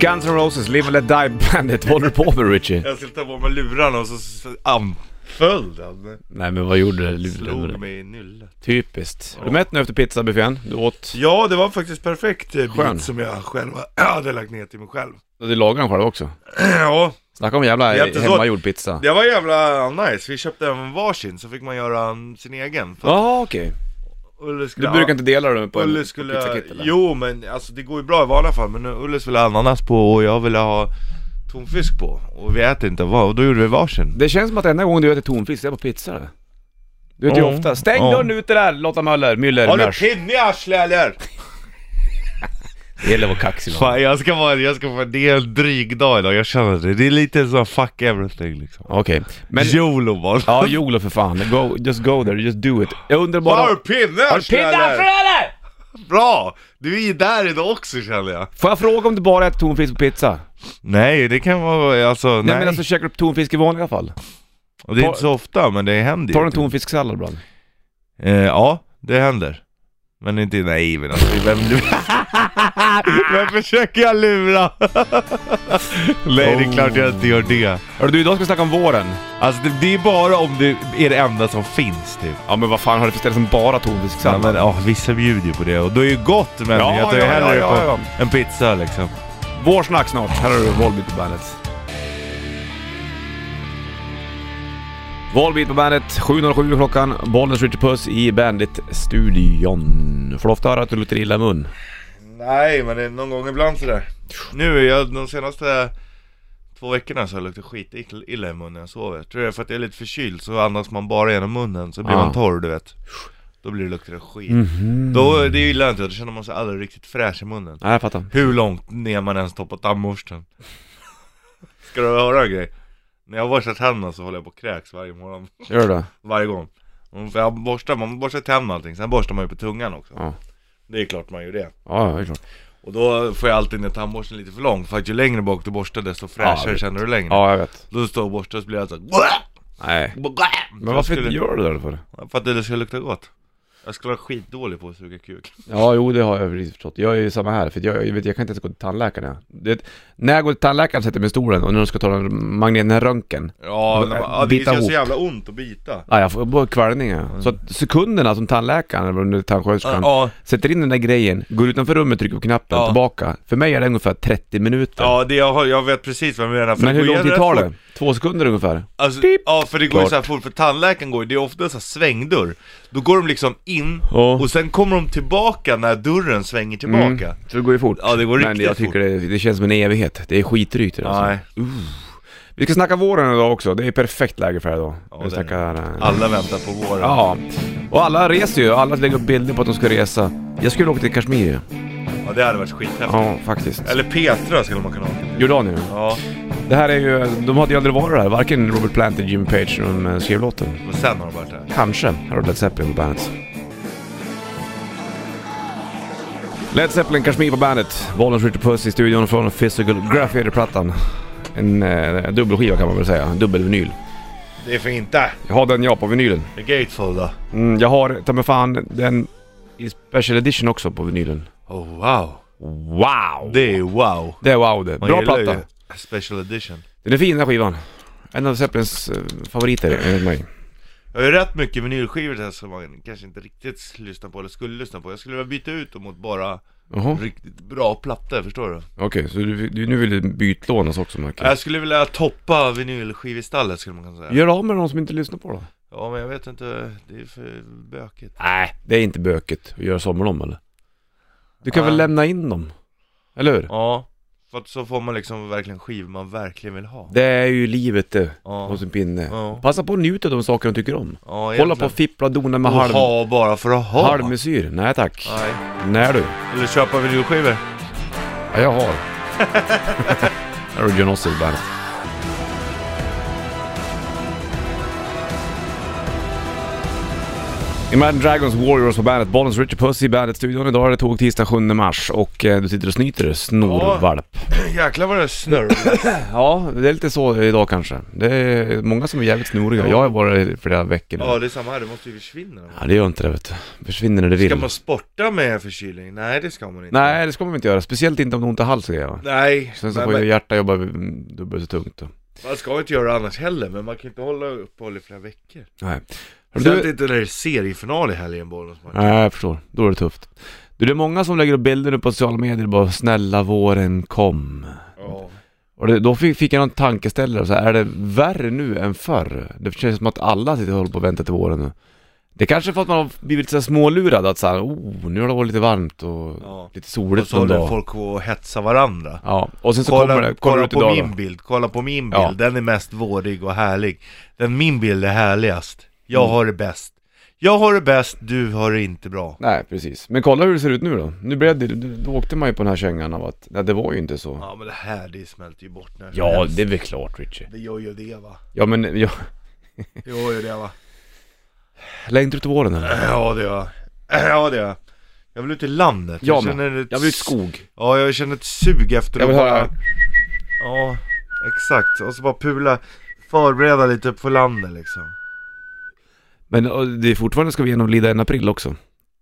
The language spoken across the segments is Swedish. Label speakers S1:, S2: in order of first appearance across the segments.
S1: Guns N' Roses, Live and Let Die Bandit. Vad håller du på med Richie?
S2: Jag skulle ta på mig lurarna och så s- anföll den.
S1: Nej men vad gjorde du?
S2: Slog mig i nyllet.
S1: Typiskt. Är du mätt nu efter pizzabuffén? Du åt?
S2: Ja, det var faktiskt perfekt eh, bit
S1: Skön.
S2: som jag själv hade lagt ner till mig själv.
S1: Du lagade den själv också?
S2: Ja,
S1: Snacka om jävla
S2: Det är inte så-
S1: hemmagjord pizza.
S2: det var jävla nice. Vi köpte en varsin så fick man göra en- sin egen. För-
S1: Ja, okej.
S2: Ulle
S1: Du
S2: skulle
S1: brukar inte dela det på en
S2: Ulle
S1: på
S2: skulle...
S1: pizzakit eller?
S2: Jo men alltså det går ju bra i vanliga fall men Ulles ville ha ananas på och jag ville ha tonfisk på och vi äter inte vad och då gjorde vi varsin
S1: Det känns som att enda gången du äter tonfisk, det är på pizza det. Du äter
S2: Ja.
S1: ju ofta. Stäng
S2: Ja.
S1: dörren ute där Lotta Möller, Müller,
S2: Har du
S1: Mörs.
S2: pinne i arslet eller?
S1: Det gäller att vara kaxig man.
S2: Fan jag ska vara, jag ska vara, det är en dryg dag idag, jag känner det. Det är lite så fuck everything liksom.
S1: Okej. Men...
S2: YOLO bara.
S1: Ja, jolo för fan. Go, just go there, just do it. Jag undrar bara...
S2: Har du pinne i
S1: Har du
S2: arslet
S1: pinne för
S2: eller?
S1: eller?
S2: Bra! Du är ju där idag också känner jag.
S1: Får jag fråga om du bara äter tonfisk på pizza? Nej,
S2: Nej det kan vara, alltså nej.
S1: men alltså käkar du upp tonfisk i vanliga fall?
S2: och det är
S1: ta-
S2: inte så ofta men det händer
S1: Tar du
S2: ju.
S1: en tonfisksallad ibland?
S2: Eh, ja, det händer. Men inte, nej men alltså, vem, vem försöker jag lura? nej det är klart jag inte gör det.
S1: Hörru du, idag ska vi snacka om våren.
S2: Alltså det, det är bara om det är det enda som finns typ.
S1: Ja men vad fan har du för ställe som bara
S2: Ja,
S1: tonfisksallad?
S2: men ja, vissa bjuder ju på det och då är ju gott men
S1: Ja,
S2: jag tar ju
S1: ja,
S2: hellre
S1: ja, ja,
S2: på en pizza liksom.
S1: Vårsnack snart. Här har du Volbeat på bandet. Volbeat på bandet, 7.07 klockan. Bollnäs Richard Puss i Bandit-studion. Får du ofta höra att du luktar illa i mun?
S2: Nej men det är någon gång ibland sådär. Nu är jag, de senaste två veckorna så har jag luktat skit illa i munnen när jag sover. Jag tror det är för att jag är lite förkyld så andas man bara genom munnen så blir
S1: Ah.
S2: man torr du vet. Då blir det luktar det skit. Då, det gillar jag inte, då känner man sig aldrig riktigt fräsch i munnen.
S1: Nej, jag fattar.
S2: Hur långt ner man än står på tandborsten. Ska du höra en grej? När jag borstar tänderna så håller jag på och kräks varje morgon.
S1: Gör du det?
S2: Varje gång. Mm, För jag borstar, man borstar tänderna och allting, sen borstar man ju på tungan också.
S1: Ja.
S2: Det är klart man gör det.
S1: Ja, det är klart.
S2: Och då får jag alltid ner tandborsten lite för lång, för att ju längre bak du borstar desto
S1: Ja,
S2: fräschare
S1: jag vet.
S2: känner du längre.
S1: Ja, jag vet.
S2: Då står jag och borstar och så blir jag så här,
S1: Nej. Men
S2: Jag
S1: varför
S2: skulle-
S1: gör du det då för?
S2: För att det ska lukta gott. Jag skulle vara skitdålig på att suga kuk.
S1: Ja, jo det har jag precis förstått. Jag är ju samma här, för jag, jag, vet, jag kan inte ens gå till tandläkaren. Det, när jag går till tandläkaren sätter jag mig i stolen och när de ska ta den magnetneröntgen,
S2: Ja,
S1: Men,
S2: men,
S1: äh,
S2: ja det
S1: bita
S2: gör
S1: ihop.
S2: så jävla ont att bita.
S1: ja, jag får bara kvällningar. Så att sekunderna som tandläkaren eller vad det nu är, tandsköterskan
S2: Ja,
S1: sätter in den där grejen, går utanför rummet, trycker på knappen,
S2: Ja.
S1: tillbaka. För mig är det ungefär 30 minuter.
S2: ja det, jag, har- jag vet precis vad du menar. för
S1: Men
S2: det
S1: hur
S2: går
S1: lång tid
S2: rätt
S1: tar
S2: fort.
S1: det? Två sekunder ungefär?
S2: Alltså,
S1: Pip.
S2: ja för det går ju
S1: Klart.
S2: så här fort, för tandläkaren går ju, det är ofta en så här svängdörr Då går de liksom in,
S1: Ja.
S2: och sen kommer de tillbaka när dörren svänger tillbaka
S1: Mm. Så det går ju fort.
S2: Ja, det går
S1: Men
S2: riktigt
S1: jag tycker
S2: fort.
S1: det, det känns som en evighet. Det är skitdrygt det
S2: Nej.
S1: alltså. Uh. Vi ska snacka våren idag också, det är perfekt läge för det idag.
S2: Ja,
S1: vi
S2: det är
S1: snackar... eh,
S2: Alla väntar på våren
S1: Ja, och alla reser ju. Alla lägger upp bilder på att de ska resa. Jag skulle åka till Kashmir ju.
S2: Ja, det hade varit skithäftigt
S1: Ja, faktiskt.
S2: Eller Petra skulle man kunna åka till
S1: Jordanien.
S2: Ja,
S1: Det här är ju, de hade ju aldrig varit där. Varken Robert Plant eller Jimmy Page när de eh, skrev låten.
S2: men sen har de varit där
S1: Kanske. Här har du Led Zeppelin på bandet. Led Zeppelin, Kashmir på bandet. Bollens Richard Puss i studion från Physical Graffiti-plattan. En eh, dubbelskiva kan man väl säga. Dubbelvinyl.
S2: Det är fint det!
S1: Jag har den jag på vinylen.
S2: The Gatefold då
S1: Mm, jag har ta mig fan den i special edition också på vinylen.
S2: Oh wow!
S1: Wow!
S2: Det är wow!
S1: Det är wow det.
S2: Man
S1: Bra
S2: gillar
S1: platta.
S2: ju Special edition
S1: Den är fin den här skivan. En av Zeppelins eh, favoriter enligt mig.
S2: Jag har ju rätt mycket vinylskivor där som man kanske inte riktigt lyssnar på eller skulle lyssna på Jag skulle vilja byta ut dem mot bara
S1: Jaha,
S2: riktigt bra plattor, förstår du?
S1: okej. så du, du, nu vill du bytlånas också märker jag.
S2: Jag skulle vilja toppa vinylskivistallet skulle man kunna säga.
S1: Gör av med de som inte lyssnar på det.
S2: Ja men jag vet inte, det är för bökigt.
S1: Nej, det är inte böket att göra sommar om eller? Du kan
S2: Nej.
S1: väl lämna in dem? Eller hur?
S2: Ja, för att så får man liksom verkligen skivor man verkligen vill ha.
S1: Det är ju livet det,
S2: Ja,
S1: hos en pinne.
S2: Ja.
S1: Passa på att njuta av de saker du tycker om.
S2: ja
S1: Hålla
S2: egentligen.
S1: på och fippla och dona med
S2: och
S1: halm,
S2: ha bara för att ha.
S1: halvmesyr. Nej tack.
S2: Nej.
S1: Nej du.
S2: Eller köpa vinylskivor.
S1: Ja, jag har. Här har du John Ossie i bandet. Imagine Dragons Warriors på bandet, Bollens Richard Puss i Bandet-studion. Idag är det tåg tisdag 7 mars och eh, du sitter och snyter snorvalp.
S2: Jäklar vad det snurrar.
S1: Ja, det är lite så idag kanske. Det är många som är jävligt snoriga. Jag har varit i flera veckor nu.
S2: Ja det är samma här, det måste ju försvinna.
S1: Ja, det gör inte det vet du. Försvinner när det
S2: Ska
S1: vill.
S2: man sporta med förkylning? Nej det ska man inte.
S1: Nej, det ska man inte göra. Speciellt inte om du har ont i halsen. Ja.
S2: Nej,
S1: Sen så
S2: men,
S1: får ju
S2: men,
S1: hjärtat jobba mm, dubbelt så tungt. Då.
S2: man ska inte göra det annars heller, men man kan inte hålla uppehåll i flera veckor.
S1: Nej.
S2: Du...
S1: Du-
S2: Särskilt inte när det är seriefinal i helgen, Bollnäs match.
S1: Nej, jag förstår. Då är det tufft. Du, det är många som lägger upp bilder nu på sociala medier bara “Snälla våren kom”.
S2: Ja.
S1: Och det, då fick, fick jag någon tankeställare, så här, är det värre nu än förr? Det känns som att alla sitter och håller på och väntar till våren nu. Det är kanske är för att man har blivit så här smålurad att såhär, oh, nu har det varit lite varmt och
S2: ja.
S1: lite
S2: Och
S1: soligt
S2: så
S1: någon
S2: håller
S1: dag.
S2: folk på att hetsa varandla.
S1: Ja, och sen så
S2: Kolla,
S1: kommer det, kommer
S2: kolla
S1: det ut
S2: på
S1: idag
S2: min
S1: då.
S2: bild, kolla på min bild.
S1: Ja.
S2: Den är mest vårig och härlig. Den min bild är härligast. Jag
S1: Mm.
S2: har det bäst. Jag har det bäst, du har det inte bra.
S1: Nej, precis. Men kolla hur det ser ut nu då. Nu blev det, då- då åkte man ju på den här kängan av att, nej det var ju inte så.
S2: Ja men det här, det smälter ju bort när som
S1: Ja,
S2: helst.
S1: det är väl klart Richie.
S2: Det gör ju det va.
S1: Ja men, jag,
S2: Det gör ju det va.
S1: längtar du till våren eller?
S2: Ja det gör jag. Ja det gör jag. Jag vill ut i landet.
S1: Jag med.
S2: känner ett...
S1: Jag vill ut i skog.
S2: Ja, jag känner ett sug efter
S1: Jag vill
S2: att
S1: höra.
S2: bara... Ja, exakt. Och så bara pula, förbereda lite upp för landet liksom.
S1: Men och, det är fortfarande ska vi genomlida en april också.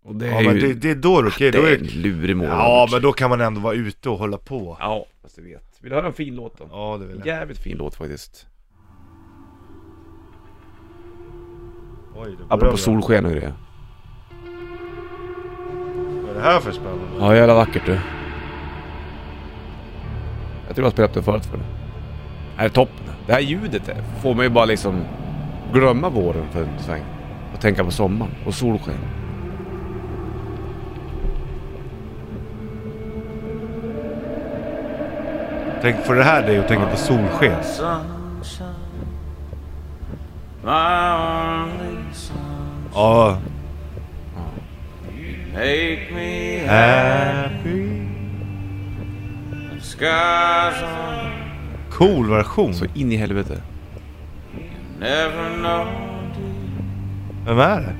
S1: Och det
S2: Ja
S1: är
S2: men
S1: ju...
S2: det, det är då det är okej.
S1: det
S2: Då
S1: är
S2: är
S1: en lurig månad.
S2: Ja men då kan man ändå vara ute och hålla på.
S1: Ja, fast du vet. Vill du höra en fin låt då?
S2: Ja det vill jag.
S1: Jävligt fin låt faktiskt.
S2: Oj, det
S1: Apropå
S2: berömmer.
S1: solsken och grejer.
S2: Vad är det här för spännande?
S1: Ja, jävla vackert du. Jag tror jag har spelat upp den förut för dig. Det här är toppen. Det här ljudet eh, får mig ju bara liksom glömma våren för en sväng. Och tänka på sommaren och solsken.
S2: Tänk för det här dig och tänka på solsken.
S3: sunshine, my only sunshine.
S2: Ja.
S3: Make me happy.
S2: Happy.
S3: Skies on,
S2: Cool version.
S1: Så in i helvete.
S3: never know
S2: Vem är det?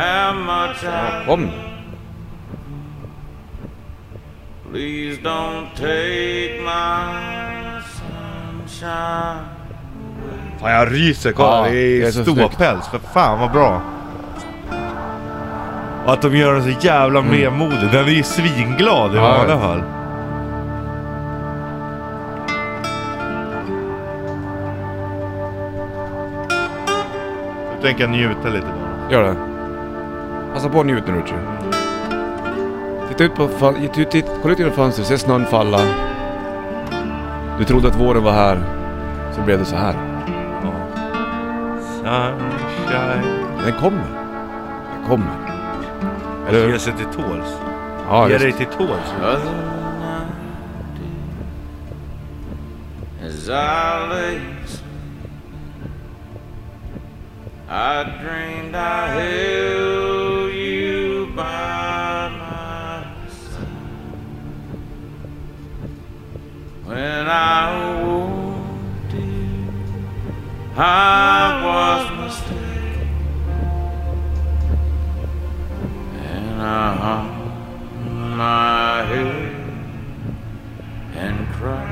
S3: how much I
S1: Kom
S3: Please don't take my sunshine.
S2: Fan jag ryser, kolla
S1: Ja,
S2: det är,
S1: det är så
S2: ståpäls, för fan vad bra! Och att de gör den så jävla medmodig, den är ju svinglad i
S1: Mm. Ja,
S2: vanliga
S1: ja.
S2: fall. Nu tänker jag njuta lite bara.
S1: Gör det. Passa på att njuta nu Richie. Titta ut på fan, titta, ut- titta, kolla ut genom fönstret, se snön falla. Du trodde att våren var här, så blev det så här.
S2: Sunshine.
S1: Den kommer. Den kommer.
S2: Eller...
S1: Eller-
S2: Ge sig till tåls.
S1: Ja,
S2: Ge
S1: just.
S2: dig till tåls.
S3: Other night, dear, as I lay asleep, I dreamed I held you by my side. When I awoke, dear, I was mistaken, and I hung my head and cry.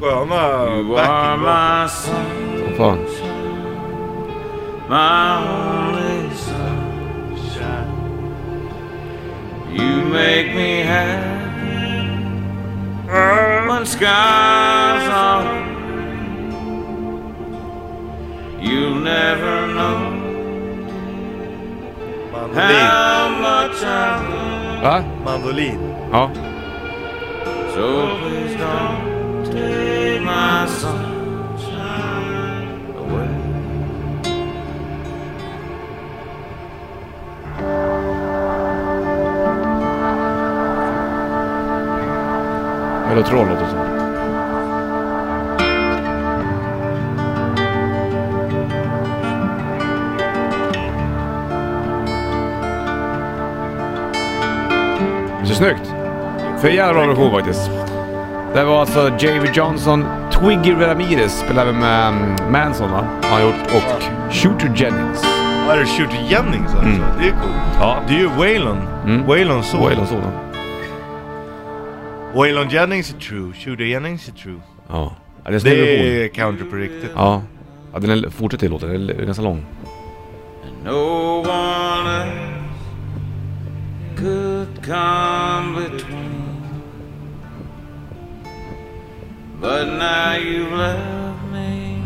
S2: Sköna
S3: You are
S2: backing vocals.
S3: my sun,
S1: Som fan.
S3: my only sunshine. You make me happy when skies are. You'll never know
S2: Mandolin.
S3: how much I love.
S1: Va?
S2: Mandolin.
S1: Ja.
S3: So please don't take my sunshine away.
S1: Mellotroll låter det som. Så snyggt! För jävla bra version faktiskt. Det var alltså J.V. Johnson, mm, Twiggy Ramirez spelar även med um, Manson va? Har han gjort och Shooter Jennings.
S2: Ja, du Shooter Jennings alltså.
S1: Mm.
S2: Det är coolt.
S1: Ja.
S2: Det är ju Waylon.
S1: Mm.
S2: Waylons son.
S1: Waylon sådan.
S2: Waylon Jennings är true. Shooter Jennings är true.
S1: Ja. ja det är en snäll version.
S2: Det är counter på riktigt.
S1: Ja. ja. Den är, fortsätter låten, den är ganska lång.
S3: No one else could come between. But now you love me,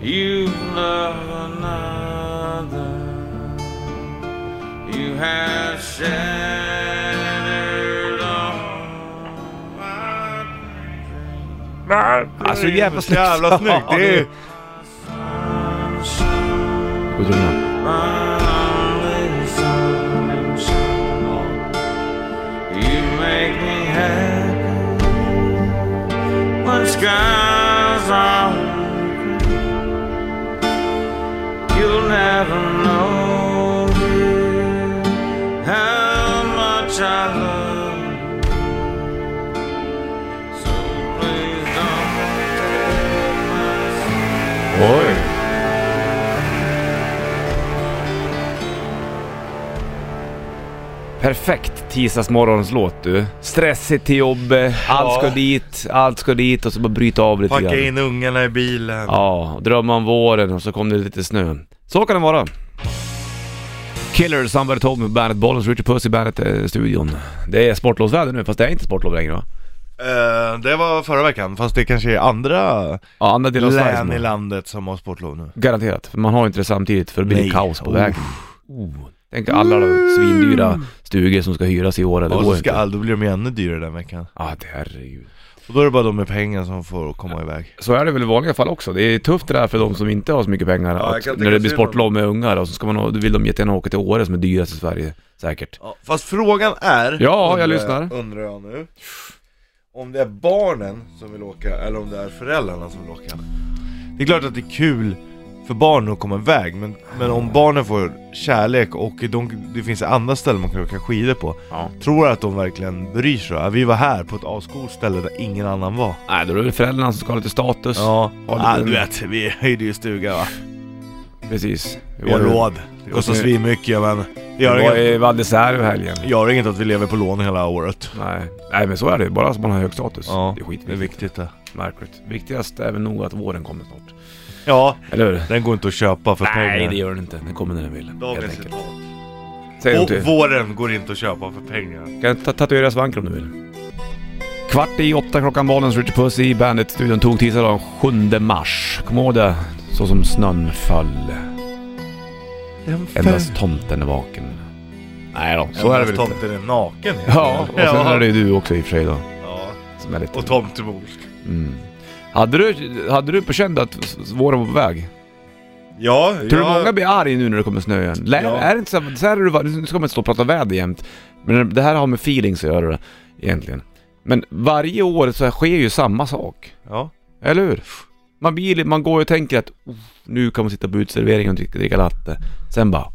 S3: you love another, you have shattered all my
S1: Alltså jävla snyggt.
S2: Jävla snyggt. Det är,
S1: Gå ut och ringa.
S3: You make me happy when skies are blue. You'll never know dear, how much I love you. So please don't take my
S1: Oj! Perfekt tisdagsmorgonslåt du. Stressigt till jobbet, allt
S2: Ja.
S1: ska dit, allt ska dit och så bara bryta av lite
S2: packa
S1: grann.
S2: in ungarna i bilen.
S1: Ja, drömma om våren och så kom det lite snö. Så kan det vara. Killer, Somebody Told Me, bandet Bollens, Richard Puss i bandet-studion. Det är sportlovsväder nu, fast det är inte sportlov längre va?
S2: Eh, det var förra veckan, fast det kanske är andra
S1: Ja, andra delar av Sverige som
S2: län
S1: har-
S2: i landet som har sportlov nu.
S1: Garanterat, för man har inte det samtidigt för det blir
S2: Nej.
S1: kaos på
S2: Oh. Mm.
S1: vägen. Oh. Tänk alla de svindyra stugor som ska hyras i år, eller
S2: Och
S1: det
S2: så
S1: går
S2: ska,
S1: inte.
S2: all- då blir de ju ännu dyrare den veckan.
S1: Ah, det herregud.
S2: Och då är det bara de med pengar som får komma iväg.
S1: Så är det väl i vanliga fall också. Det är tufft det där för de som inte har så mycket pengar.
S2: jag kan
S1: att,
S2: tänka
S1: när det
S2: mig
S1: blir
S2: det.
S1: sportlov med ungar och så ska man, ha- då vill de jättegärna åka till Åre som är dyrast i Sverige, säkert.
S2: Ja, fast frågan är...
S1: Ja, jag
S2: undrar-
S1: lyssnar.
S2: Undrar jag nu. Om det är barnen som vill åka eller om det är föräldrarna som vill åka. Det är klart att det är kul för barnen att komma iväg men, men om barnen får kärlek och de, det finns andra ställen man kan åka skidor på.
S1: Ja.
S2: Tror jag att de verkligen bryr sig? då? Vi var här på ett ascoolt ställe där ingen annan var.
S1: Nej, då är det föräldrarna som ska ha lite status.
S2: Ja,
S1: Ja, det-
S2: du vet, vi höjde ju stuga va.
S1: Precis.
S2: Vi har råd. Det kostar
S1: Och-
S2: svinmycket men det
S1: Jag
S2: gör
S1: var
S2: inget,
S1: i Val d'Isère i helgen.
S2: gör inget att vi lever på lån hela året.
S1: Nej. Nej, men så är det Bara att man har hög status.
S2: Ja,
S1: det är
S2: Det är
S1: skitviktigt.
S2: viktigt det.
S1: Märkligt. Viktigast är väl nog att våren kommer snart.
S2: Ja,
S1: Eller hur?
S2: Den går inte att köpa för pengar.
S1: Nej, det gör den inte. Den kommer när den vill.
S2: Dagens
S1: helt enkelt.
S2: citat.
S1: Säg det
S2: Och
S1: till.
S2: våren går inte att köpa för pengar.
S1: Kan ta- tatuera svanken om du vill. Kvart i åtta klockan Valens Richard Puss i Bandet-studion tog tisdagen den 7 mars. Kom ihåg det. Så som snön föll. Endast tomten är vaken. Nej då, så är det väl inte.
S2: Tomten är naken. heter
S1: Ja, och sen
S2: Ja.
S1: är det ju du också i och för sig då.
S2: Ja.
S1: Som är lite...
S2: Och tomtemor.
S1: Mm. Hade du, hade du på känn att s- s- våren var på väg?
S2: Ja,
S1: Tror
S2: ja.
S1: du många blir arga nu när det kommer snö igen? Lä,
S2: Ja.
S1: Är det inte så, så här är det, va- nu ska man inte stå och prata väder jämt, men det här har med feelings att göra egentligen. Men varje år så här sker ju samma sak,
S2: Ja.
S1: eller hur? Man, blir, man går och tänker att "Uff, nu kan man sitta på uteserveringen och dricka, dricka latte. Sen bara...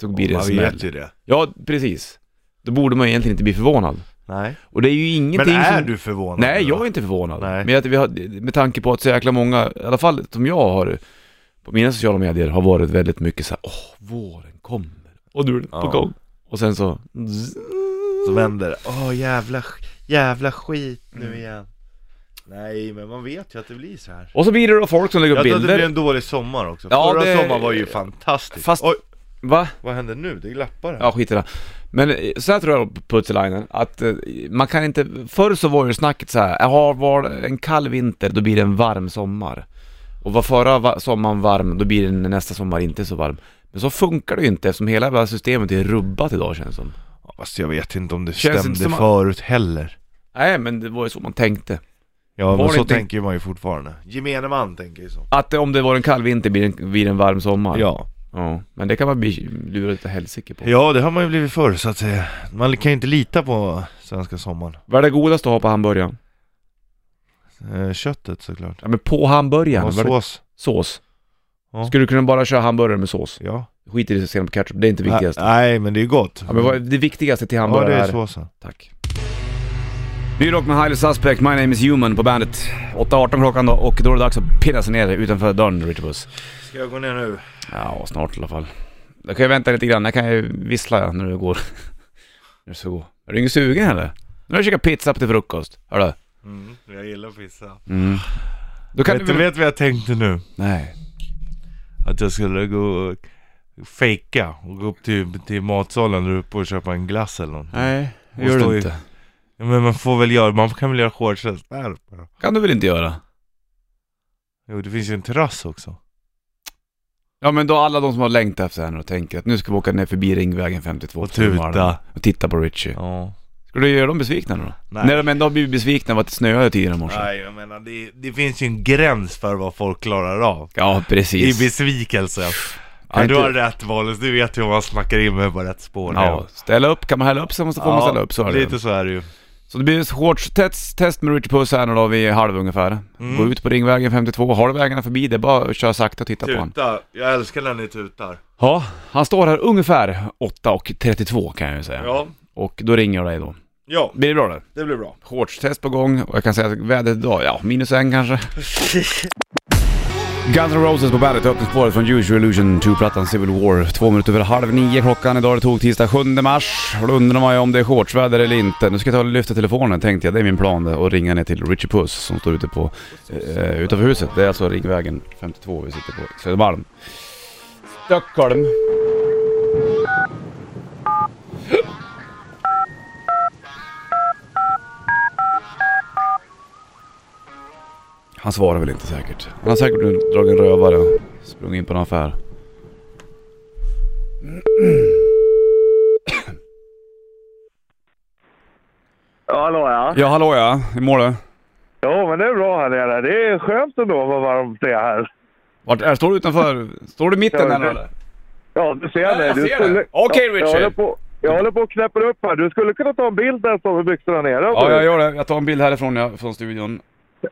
S1: Så blir det en
S2: Man vet
S1: smäll.
S2: ju det.
S1: Ja, precis. Då borde man egentligen inte bli förvånad.
S2: Nej.
S1: Och det är ju
S2: Men
S1: ingenting
S2: är
S1: som...
S2: du förvånad?
S1: Nej,
S2: nu
S1: jag
S2: då?
S1: är inte förvånad.
S2: Nej.
S1: Men jag, vi har, med tanke på att så jäkla många, i alla fall som jag har, på mina sociala medier har varit väldigt mycket så här, åh, våren kommer. Och nu är det på
S2: Ja.
S1: gång. Och sen så...
S2: Som vänder. Åh jävla, sk- jävla skit nu igen. Nej, men man vet ju att det blir så här.
S1: Och så blir det då folk som lägger upp
S2: Jag tror att det
S1: bilder.
S2: blir en dålig sommar också.
S1: Ja,
S2: Förra
S1: det-
S2: sommaren var ju fantastisk.
S1: Fast-
S2: Oj,
S1: Va?
S2: vad händer nu? Det glappar här.
S1: Ja, skit i det. Men eh, så här tror jag på Putzelainen, att eh, man kan inte... Förr så var ju snacket så här, jaha, var det en kall vinter, då blir det en varm sommar. Och var förra va- sommaren varm, då blir den nästa sommar inte så varm. Men så funkar det ju inte eftersom hela det här systemet är rubbat idag känns det som.
S2: Fast jag vet inte om det
S1: Känns inte
S2: stämde
S1: som att-
S2: förut heller.
S1: Nej, men det var ju så man tänkte.
S2: Ja
S1: Var
S2: men
S1: det
S2: så
S1: inte-
S2: tänker ju man ju fortfarande. Gemene man tänker ju så.
S1: Att eh, om det var en kall vinter blir det en, blir det en varm sommar.
S2: Ja.
S1: Ja, Men det kan man bli lurad utav helsike på.
S2: Ja det har man ju blivit förr så att säga. Man kan ju inte lita på svenska sommaren.
S1: Vad är det godaste att ha på hamburgaren?
S2: Eh, Köttet såklart.
S1: Ja men på hamburgaren?
S2: Och
S1: vad är det-
S2: sås.
S1: Sås?
S2: Ja.
S1: Skulle du kunna bara köra hamburgare med sås?
S2: Ja.
S1: Skit i det sen på ketchup, det är inte viktigast.
S2: Nej men det är gott.
S1: Ja men vad, det viktigaste till
S2: Ja
S1: hamburgare
S2: det är
S1: är...
S2: såsen.
S1: Tack. Nyrock med Highly Suspect, My Name Is Human på bandet. 8.18 klockan då och då är det dags att pirra sig ner utanför dörren, Richard Puss.
S2: Ska jag gå ner nu?
S1: Ja, snart i alla fall. Då kan jag vänta lite grann, jag kan ju vissla när du går. När du ska gå. Är du ingen sugen heller? Nu har du käkat pizza till frukost, hörru.
S2: Mm, jag gillar pizza.
S1: Mm. Då kan
S2: Vet du
S1: du...
S2: vet vad jag tänkte nu?
S1: Nej.
S2: Att jag skulle gå och fejka och gå upp till, till matsalen där uppe och köpa en glass eller någonting.
S1: Nej, det
S2: Och
S1: gör
S2: stå
S1: du
S2: i-
S1: inte.
S2: Ja, Men man får väl göra, man kan väl göra shortset där uppe då?
S1: kan du väl inte göra?
S2: Jo, det finns ju en terrass också.
S1: Ja men då alla de som har längtat efter henne och tänker att nu ska vi åka ner förbi Ringvägen 52
S2: Och
S1: på sommaren
S2: tuta.
S1: Och titta på Richie.
S2: Ja.
S1: Ska du göra dem besvikna nu då?
S2: Nej.
S1: När de ändå har blivit besvikna av att det snöade tidigare i morse.
S2: Nej, jag menar det, det finns ju en gräns för vad folk klarar av.
S1: Ja
S2: I
S1: precis.
S2: besvikelse. Ja,
S1: inte-
S2: du har rätt Wallace, du vet hur man snackar in mig på rätt spår.
S1: Ja, ställa upp. Kan man hälla upp så måste- får man ställa upp. Så är det.
S2: Lite så är det ju.
S1: Så det blir shortstest test med Richie Puss här nu då vid halv ungefär. Gå ut på Ringvägen 52. Har du vägarna förbi det, bara kör sakta och titta på honom.
S2: Tuta, jag älskar när ni tutar.
S1: Ja, han står här ungefär 8.32 kan jag ju säga.
S2: Ja,
S1: Och då ringer jag dig då.
S2: ja,
S1: Blir det bra då?
S2: det blir bra.
S1: Shortstest på gång och jag kan säga att vädret idag, ja, minus en kanske. Guns N' Roses på bandet, öppningsspåret från Use Your Illusion 2-plattan Civil War. Två minuter över halv nio klockan idag, det tog tisdag 7 mars. Och då undrar man ju om det är shortsväder eller inte. Nu ska jag ta och lyfta telefonen tänkte jag, det är min plan det, och ringa ner till Richie Puss som står ute på, eh, utanför huset. Det är alltså Ringvägen 52 vi sitter på, Södermalm. Stockholm. Han svarar väl inte säkert. Han har säkert dragit en rövare och sprungit in på en affär.
S4: Ja, hallå ja.
S1: Ja, hallå ja. Hur mår du?
S4: Jo, men det är bra här nere. Det är skönt ändå vad varmt det är här.
S1: Vart är, står du utanför? Står du i mitten
S4: Ja,
S1: där nu
S4: det-
S1: eller?
S4: Ja, du ser det.
S1: jag
S4: Du
S1: ser det. Okej,
S4: Ja,
S1: Richard.
S4: Jag håller, på, jag håller på och knäpper upp här. Du skulle kunna ta en bild där som med byxorna nere.
S1: Ja, jag gör det. Jag tar en bild härifrån ja, från studion.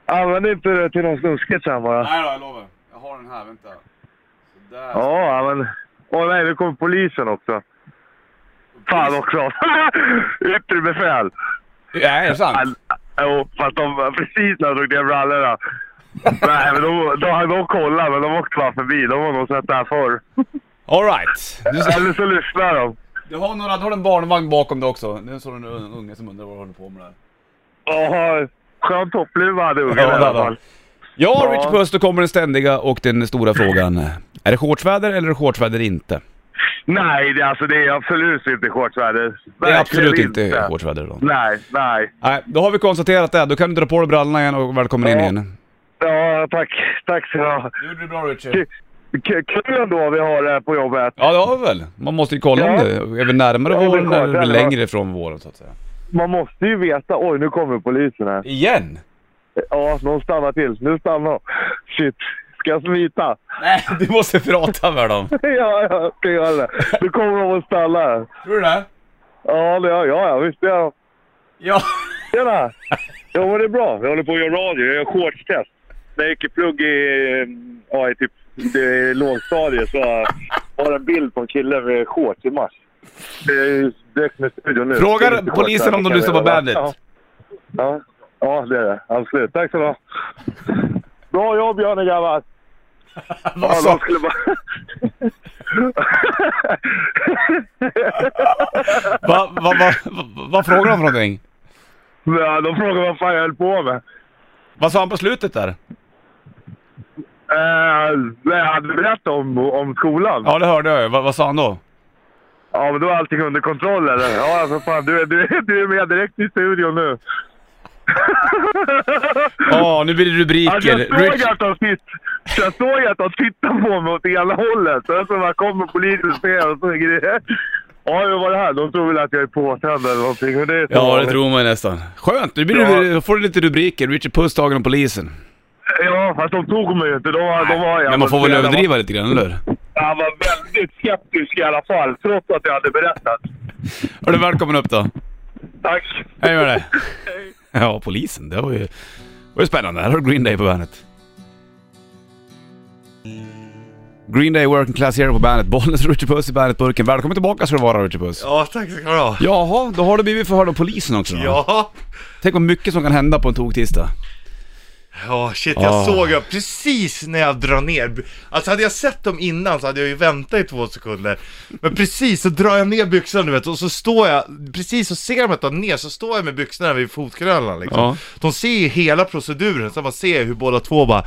S4: Använd inte det till något snuskigt sen bara.
S1: Nej då, jag lovar. Jag har den här, vänta. Sådär.
S4: Ja, ja, men... Åh nej, nu kom polisen också. Fan också. Yttre befäl.
S1: Nej, är det sant?
S4: All- Jo, fast de precis när de drog ner brallorna. nej, men de, de, de kollade, men de åkte bara förbi. De har nog sett det här förr.
S1: Alright. Du,
S4: Eller så lyssnar de.
S1: du, har några, du har en barnvagn bakom dig också. Nu står det en un- unge som undrar vad du håller på med där.
S4: Åh, skön toppluva hade ungen
S1: Ja,
S4: i alla
S1: där då.
S4: fall.
S1: Ja,
S4: Ja.
S1: Richard Puss, då kommer den ständiga och den stora frågan. Är det shortsväder eller är det shortsväder inte?
S4: Nej, det, alltså, det är absolut inte shortsväder.
S1: Det är
S4: Verkligen
S1: absolut inte shortsväder då.
S4: Nej, nej.
S1: Nej, då har vi konstaterat det. Då kan du dra på dig brallorna igen och välkommen in
S4: Ja.
S1: igen.
S4: Ja, tack. Tack så mycket.
S1: Du gjorde det bra Richard.
S4: K- Kul ändå vi har det här på jobbet.
S1: Ja det har vi väl. Man måste ju kolla om
S4: Ja.
S1: det är vi närmare
S4: Ja, det är
S1: våren
S4: klart,
S1: eller är vi
S4: det är
S1: längre ifrån våren så att säga.
S4: Man måste ju veta. Oj, nu kommer polisen här.
S1: Igen?
S4: Ja, någon stannar till. Nu stannar de. Shit. Ska jag smita?
S1: Nej, du måste prata med dem.
S4: ja, jag ska göra det. Nu kommer de att stanna här.
S1: Tror du det?
S4: Ja, det gör jag. Ja, visst gör de.
S1: Ja.
S4: Tjena! Jo, men det är bra. Jag håller på att göra radio. Jag gör shortstest. När jag gick i plugg i, eh, ja, i typ, det, lågstadiet så var det en bild på en kille med shorts i mars. Det dök med studion nu.
S1: Fråga
S4: Det är inte
S1: polisen
S4: shorts,
S1: om de
S4: kan
S1: lyssnar
S4: vi
S1: på
S4: göra.
S1: Bandit.
S4: Ja. Ja. ja, det är det. Absolut. Tack så du ha. Bra jobb, Björne grabbar!
S1: Vad
S4: Ja, de
S1: sa-
S4: skulle bara...
S1: Vad va, va, va, vad frågar de för någonting?
S4: ja, de frågade vad fan jag höll på med.
S1: Vad sa han på slutet där?
S4: Eh, jag hade berättat om, om skolan.
S1: Ja det hörde jag ju. Va, vad sa han då?
S4: Ja, men då är allting under kontroll eller? Ja, alltså fan, du, är- du, är- du är med direkt i studion nu.
S1: Ja, nu blir det
S4: Alltså,
S1: rubriker.
S4: jag såg
S1: Rich-
S4: att han titt, jag såg att han tittade på mig åt ena hållet. Sen så bara kommer polisen och ser och så grejer. Ja, hur var det här? De tror väl att jag är påtänd eller någonting. Men det är så
S1: Ja, det
S4: vanligt.
S1: tror man ju nästan. Skönt, nu blir det, då får du lite rubriker. Richard Puss tagen av polisen.
S4: Ja, fast de tog mig ju inte. De, var- de var
S1: Men man får väl överdriva lite grann, eller hur?
S4: Han var väldigt skeptisk i alla fall, trots att jag hade berättat.
S1: Hörru, välkommen upp då.
S4: Tack!
S1: Hej med dig. Ja, polisen. Det var ju, det var ju spännande. Här har du Green Day på bandet. Green Day Working Class Hero på bandet. Bollnäs Richie Puss i bandetburken. Välkommen tillbaka ska du vara Richie Puss.
S2: Ja, tack ska du ha.
S1: Jaha, då har du blivit förhörd av polisen också då.
S2: Ja.
S1: Tänk vad mycket som kan hända på en toktisdag.
S2: Ja, shit jag
S1: Ah.
S2: såg jag precis när jag drar ner. Alltså hade jag sett dem innan så hade jag ju väntat i två sekunder. Men precis så drar jag ner byxorna du vet och så står jag, precis så ser de att jag ner så står jag med byxorna vid fotknölarna liksom.
S1: Ja.
S2: De ser ju hela proceduren, så man ser hur båda två bara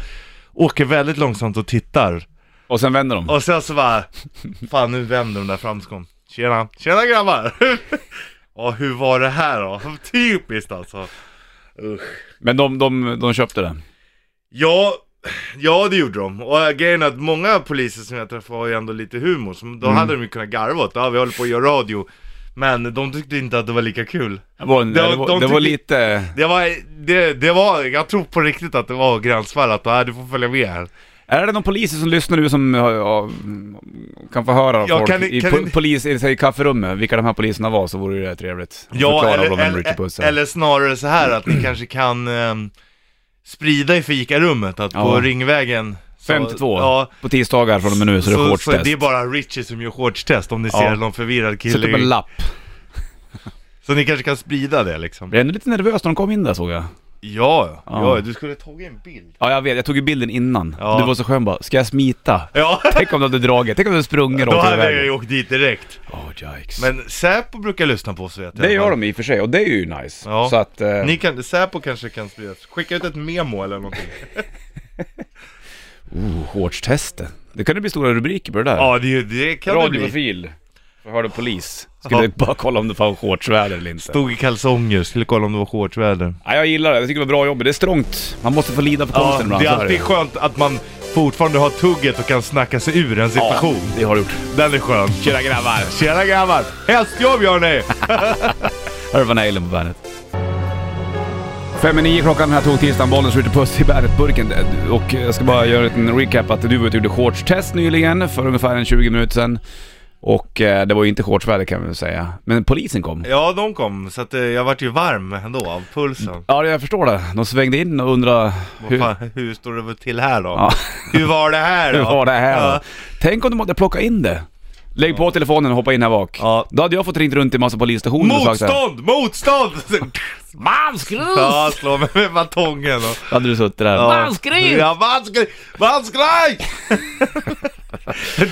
S2: åker väldigt långsamt och tittar.
S1: Och sen vänder de.
S2: Och sen så bara, fan nu vänder de där fram så kom. Tjena, tjena grabbar! Ja hur var det här då? Typiskt alltså. Usch.
S1: Men de, de, de köpte den.
S2: Ja, ja det gjorde de. Och äh, grejen är att många poliser som jag träffade har ju ändå lite humor, så
S1: Mm.
S2: då hade de ju kunnat garva åt det. Ja, vi håller på att göra radio. Men de tyckte inte att det var lika kul.
S1: Det var, det,
S2: De-
S1: var,
S2: de
S1: det var
S2: tycker-
S1: lite...
S2: Det var, det, det var, jag tror på riktigt att det var gränsfall att äh, du får följa med här.
S1: Är det någon poliser som lyssnar nu som ja, ja, kan få höra av
S2: Ja,
S1: folk
S2: kan ni-
S1: i,
S2: kan
S1: po-
S2: ni-
S1: polis, i, i kafferummet vilka de här poliserna var så vore det ju trevligt. att
S2: Ja,
S1: förklara
S2: eller,
S1: vad de Richard Puss
S2: eller,
S1: är.
S2: eller snarare så här att ni kanske kan ehm, sprida i fikarummet att på
S1: Ja.
S2: Ringvägen så-
S1: 52
S2: Ja,
S1: på tisdagar från och med nu så, det är
S2: så, så
S1: shortstest.
S2: det är bara Richie som gör shortstest om ni
S1: Ja.
S2: ser någon förvirrad
S1: Sätt upp
S2: kille.
S1: typ en
S2: i-
S1: lapp.
S2: Så ni kanske kan sprida det liksom.
S1: Blev ändå lite nervös när de kom in där såg jag.
S2: Ja,
S1: Ja.
S2: ja, du skulle tagit en bild.
S1: Ja jag vet, jag tog ju bilden innan.
S2: Ja.
S1: Du var så skön bara, ska jag smita?
S2: Ja,
S1: Tänk om du hade dragit, tänk om du hade sprungit
S2: då
S1: rakt över
S2: hade jag ju
S1: vägen.
S2: åkt dit direkt.
S1: Åh jikes.
S2: Men Säpo brukar lyssna på oss vet jag.
S1: Oh, det gör de i och för sig och det är ju nice.
S2: Ja.
S1: Så att... Eh,
S2: Ni kan, Säpo kanske kan sprida, skicka ut ett memo eller någonting.
S1: oh, shortstestet. Det kan ju bli stora rubriker på det där.
S2: ja, det, är ju- det kan det bli.
S1: Radiofil. Förhörde polis. Skulle bara kolla om det var shortsväder eller inte.
S2: Stod i kalsonger, skulle kolla om det var shortsväder.
S1: Ja, jag gillar det. Jag tycker det var bra jobb. Det är strångt. Man måste få lida för
S2: Ja,
S1: konsten ibland.
S2: det är
S1: så
S2: alltid
S1: det.
S2: skönt att man fortfarande har tugget och kan snacka sig ur en situation.
S1: Ja, det har du gjort.
S2: Den är skön.
S1: Tjena grabbar!
S2: Tjena grabbar! Hästjobb gör ni!
S1: Här är Van Halen på bandet. Fem i nio klockan den här tog-tisdagen, bollen skjuter puss i Bandet-burken. Och jag ska bara göra en liten recap att du var ute och gjorde shortstest nyligen för ungefär en 20 minuter sedan. Och eh, det var ju inte shortsväder kan vi väl säga. Men polisen kom.
S2: Ja, de kom, så att, eh, jag vart ju varm ändå av pulsen.
S1: Ja, jag förstår det. De svängde in och undrade
S2: Vad
S1: hur...
S2: fan, hur står det till här då?
S1: Ja.
S2: Hur var det här då?
S1: Hur var det här
S2: Ja.
S1: då? Tänk om de hade plockat in det. Lägg på telefonen och hoppa in här bak.
S2: Ja.
S1: Då hade jag fått ringt runt till massa polisstationer och sagt det här.
S2: Motstånd! Motstånd!
S1: Manskrus!
S2: ja, slå mig med batongen och...
S1: Hade du suttit där.
S2: Ja. Ja, vanskrig! Vanskrig!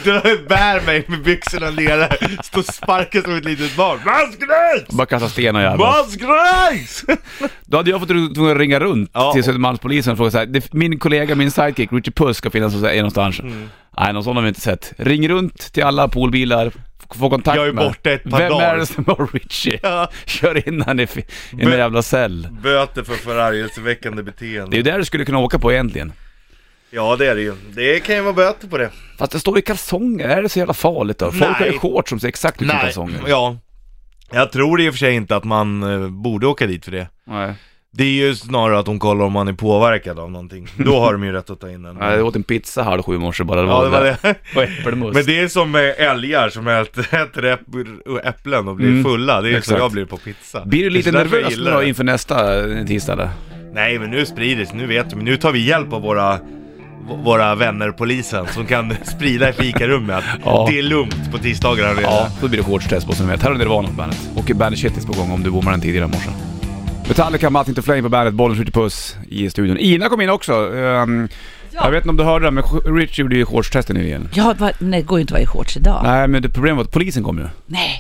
S2: Dra- Bär mig med byxorna nere, stå och sparka som ett litet barn. Vanskrig!
S1: Bara kasta stenar jävlar.
S2: Vanskrig!
S1: Då hade jag fått ru- tvungen att ringa runt
S2: Ja.
S1: till Södermalmspolisen och fråga såhär, "Det- min kollega, min sidekick, Richard Puss ska finnas hos- någonstans.
S2: Mm.
S1: Nej, någon sån har vi inte sett. Ring runt till alla poolbilar, f- få kontakt
S2: Jag är
S1: med.
S2: borta ett par
S1: Vem
S2: dagar.
S1: är det som har Richie?
S2: Ja.
S1: Kör in han i fi- i en
S2: Men-
S1: jävla cell.
S2: Böter för förargelseväckande
S1: Det är
S2: beteende.
S1: ju där du skulle kunna åka på egentligen.
S2: Ja, det är det ju. Det kan ju vara böter på det.
S1: Fast det står i kalsonger, är det så jävla farligt då? Folk har ju
S2: Nej.
S1: shorts som ser exakt ut som kalsonger.
S2: ja. Jag tror i och för sig inte att man eh, borde åka dit för det.
S1: Nej.
S2: Det är ju snarare att de kollar om man är påverkad av någonting. Då har de ju rätt att ta in en.
S1: Nej, jag åt en pizza halv sju i morse bara. Det
S2: Ja,
S1: var
S2: det var det.
S1: Och äppelmust.
S2: Men det är som med älgar som äter, äter äpp- äpplen och blir fulla. Det är
S1: Mm. exakt.
S2: så jag blir på pizza.
S1: Blir du lite
S2: Det är därför jag
S1: nervös nu
S2: gillar
S1: då
S2: det.
S1: inför nästa eh, tisdag eller?
S2: Nej, men nu sprider det sig. Nu vet vi. Nu tar vi hjälp av våra v- våra vänner polisen som kan sprida i fikarummet att
S1: Ja.
S2: det är lugnt på tisdagar redan.
S1: Ja, då blir det shortstest på som ni vet. Här är Nirvana på bandet. Och Bandet Shitlist på gång om du bommade den tidigare i morse. Metallica, Martin to Flame på bandet, bollen skjuter puss i studion. Ina kom in också. Ehm, Jag vet inte om du hörde det, men Rich gjorde ju shortstestet nyligen.
S5: Ja, va- nej, det går ju inte att vara i shorts idag. Nej,
S1: Nej, men det problemet var att polisen kom ju.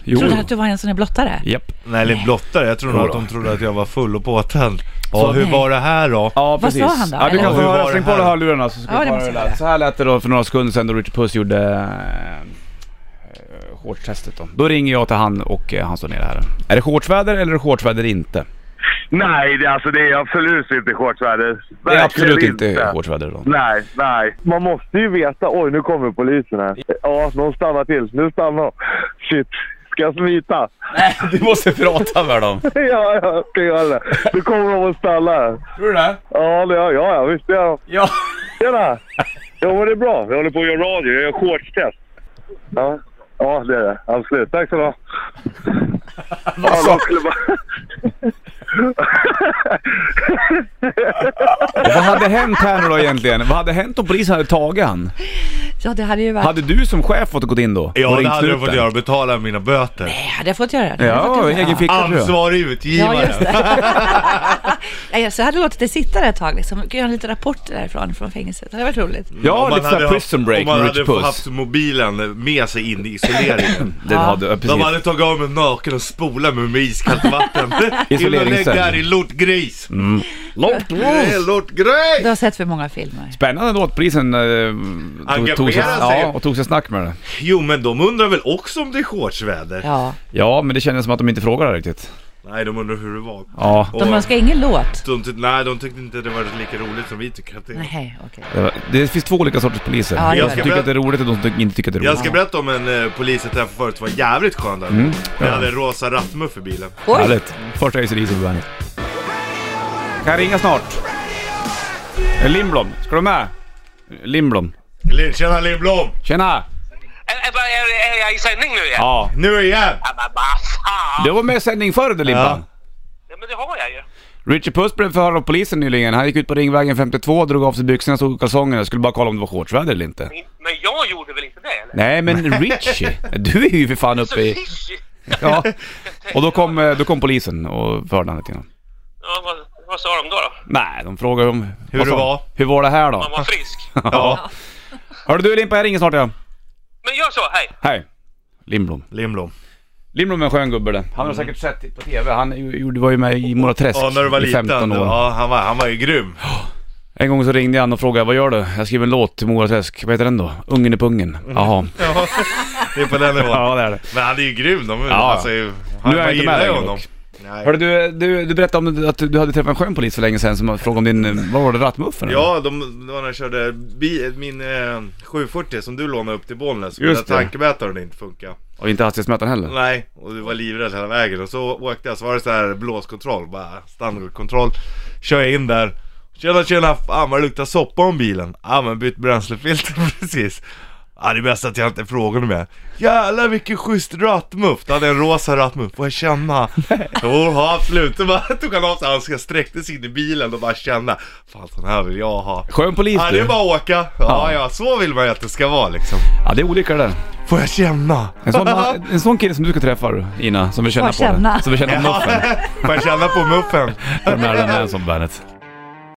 S1: Jo.
S5: trodde du att du var en sån där blottare?
S1: Japp.
S2: Nej, eller blottare. Jag tror nog
S1: Jo
S2: att
S1: då.
S2: de trodde att jag var full och påtänd. Ja,
S5: Så,
S2: hur
S5: nej.
S2: var det här då?
S1: Ja,
S5: Vad sa han då?
S1: Ja, du
S5: Eller-
S1: kan få
S2: Hur var
S1: höra.
S2: det
S1: Släng på
S2: här?
S1: dig hörlurarna så ska
S5: Ja,
S1: vi
S5: det
S1: få höra
S5: måste
S1: hur det
S5: jag
S1: lät.
S5: göra.
S1: Så här lät det då för några sekunder sedan då Richard Puss gjorde eh, shortstestet då. Då ringer jag till han och eh, han står nere här. Är det shortsväder eller är det shortsväder inte?
S4: Nej, det, alltså det är absolut inte shortsväder.
S1: Det är absolut
S4: Verkligen
S1: inte shortsväder då.
S4: Nej, nej. Man måste ju veta. Oj, nu kommer polisen här. Ja, någon stannar till. Nu stannar de. Shit. Ska jag smita?
S1: Du måste prata med dem.
S4: Ja, jag ska göra det. Nu kommer de och stannar.
S1: Tror du det?
S4: Ja, det gör jag. Ja, visst gör jag.
S1: Ja.
S4: Tjena! Jo, men det är bra. Jag håller på att göra radio. Jag gör shortstest. Ja. ja, det är det. Absolut. Tack så du ha. Vad sa
S1: Vad hade hänt här nu då egentligen? Vad hade hänt om polisen hade tagit han?
S5: Ja, det hade ju varit...
S1: Hade du som chef fått gå in då? Och
S2: Ja,
S1: ringt
S2: det hade jag
S1: snuten?
S2: fått göra. Betala mina böter.
S5: Nej, hade jag fått göra det? hade jag
S1: Ja,
S5: fått göra.
S1: egen ficka tror jag.
S2: Ansvarig
S5: Ja, just
S2: utgivare.
S5: det. Nej, så jag hade låtit det sitta där ett tag liksom. Göra lite rapporter därifrån, från fängelset. Det hade varit roligt.
S2: Om
S1: Ja,
S2: man
S1: lite såhär
S2: hade
S1: prison
S2: haft-
S1: break
S2: Om man
S1: med Rich
S2: hade
S1: Puss.
S2: haft mobilen med sig in i isoleringen.
S1: Det hade, ja,
S2: De
S1: precis.
S2: hade tagit av mig naken och spolat mig med iskallt vatten. In och lägg
S1: Isoleringscell.
S2: där i lortgris.
S1: Mm. Långt
S2: Det är
S5: Du
S2: Lortgris!
S5: har sett för många filmer.
S1: Spännande då att polisen eh, tog, tog, sig,
S2: Engagerar sig.
S1: ja, och tog sig snack med det.
S2: Jo men de undrar väl också om det är shortsväder?
S5: Ja.
S1: Ja, men det kändes som att de inte frågade riktigt.
S2: Nej de undrar hur det var.
S1: Ja,
S2: Och
S5: De önskar ingen låt.
S2: de tyckte- nej de tyckte inte det var lika roligt som vi tycker att det är.
S5: Nej, okej.
S1: det, var- det finns två olika sorters poliser.
S5: Ja, det
S1: de
S5: gör
S1: som
S5: det.
S1: tycker att det är roligt och de som inte tycker att det är
S2: Jag
S1: roligt.
S2: ska berätta om en eh, polis jag träffade förut som var jävligt skön där.
S1: Mm.
S2: Jag hade en rosa rattmuff i bilen.
S5: Oj!
S1: Härligt. Första ACDC på bandet. Kan jag ringa snart? Eh, Lindblom, ska du med? Lindblom.
S2: Lin- Tjena Lindblom!
S1: Tjena!
S6: Är- Är, är, är jag i sändning nu igen?
S1: Ja.
S2: Nu är jag här!
S6: Ja, men vad fan!
S1: Du var med i sändning förr du Limpan.
S6: Ja, men det har jag ju.
S1: Richard Puss blev förhörd av polisen nyligen. Han gick ut på Ringvägen 52, drog av sig byxorna, stod i kalsongerna. Skulle bara kolla om det var shortsväder eller inte.
S6: Men jag gjorde väl inte det eller?
S1: Nej men Richie, du är ju för fan
S6: Så
S1: uppe i...
S6: fishy!
S1: Ja. Och då kom, eh, då kom polisen och förde han lite grann.
S6: Ja, vad, vad sa de då? då?
S1: Nej, de frågade om...
S2: Hur
S1: vad sa
S2: det
S1: de?
S2: var?
S1: Hur var det här
S6: Man
S1: då?
S6: var frisk.
S2: Ja,
S1: Hörru du Limpa, jag ringer snart igen.
S6: Men gör så, hej!
S1: Hej. Lindblom.
S2: Lindblom. Mm.
S1: Lindblom är en skön gubbe det. Han har säkert sett på TV. Han är ju- gjorde- var ju med i Mora Träsk
S2: Ja, när du var
S1: i 15
S2: liten.
S1: år.
S2: Ja, han var, han var ju grym.
S1: En gång så ringde han och frågade vad gör du? Jag skriver en låt till Mora Träsk. Vad heter den då? Ungen i pungen.
S2: Mm.
S1: Jaha.
S2: Ja, det är på den nivån.
S1: Ja det är det.
S2: Men han är ju grym. De, ja. alltså, han,
S1: Nu är jag inte
S2: man
S1: med
S2: gillar ju
S1: längre
S2: honom.
S1: dock.
S2: Nej.
S1: Hörru du, du, du berättade om att du hade träffat en skön polis för länge sedan som frågade om din, eh, vad var det, rattmuffen? eller?
S2: Ja, de, det var när jag körde bi, min eh, 740 som du lånade upp till Bollnäs.
S1: Just
S2: Mina
S1: det.
S2: tankemätaren inte funkade.
S1: Och inte hastighetsmätaren heller?
S2: Nej, och du var livrädd hela vägen. Och så åkte jag, så var det så här blåskontroll, bara standardkontroll. Kör jag in där. Tjena tjena, fan vad det luktar soppa om bilen. Ja men bytt bränslefilter precis. Ja det är bäst att jag inte frågar mer. Jävlar vilken schysst rattmuff. Då hade jag en rosa rattmuff. Får jag känna? Jo, ja, absolut. Då bara tog han av sig handskarna, sträckte sig in i bilen och bara känna. Fan sån här vill jag ha.
S1: Skön polis
S2: Ja det
S1: du.
S2: är bara att åka. Ja ja, så vill man ju att det ska vara liksom.
S1: Ja det är olika det där.
S2: Får jag känna?
S1: En sån, man- en sån kille som du ska träffa du, Ina, som vill känna
S5: Får
S1: på det.
S5: känna.
S1: Som vill känna muffen.
S2: Får jag känna på muffen?
S1: För Marilyn Manson bandet.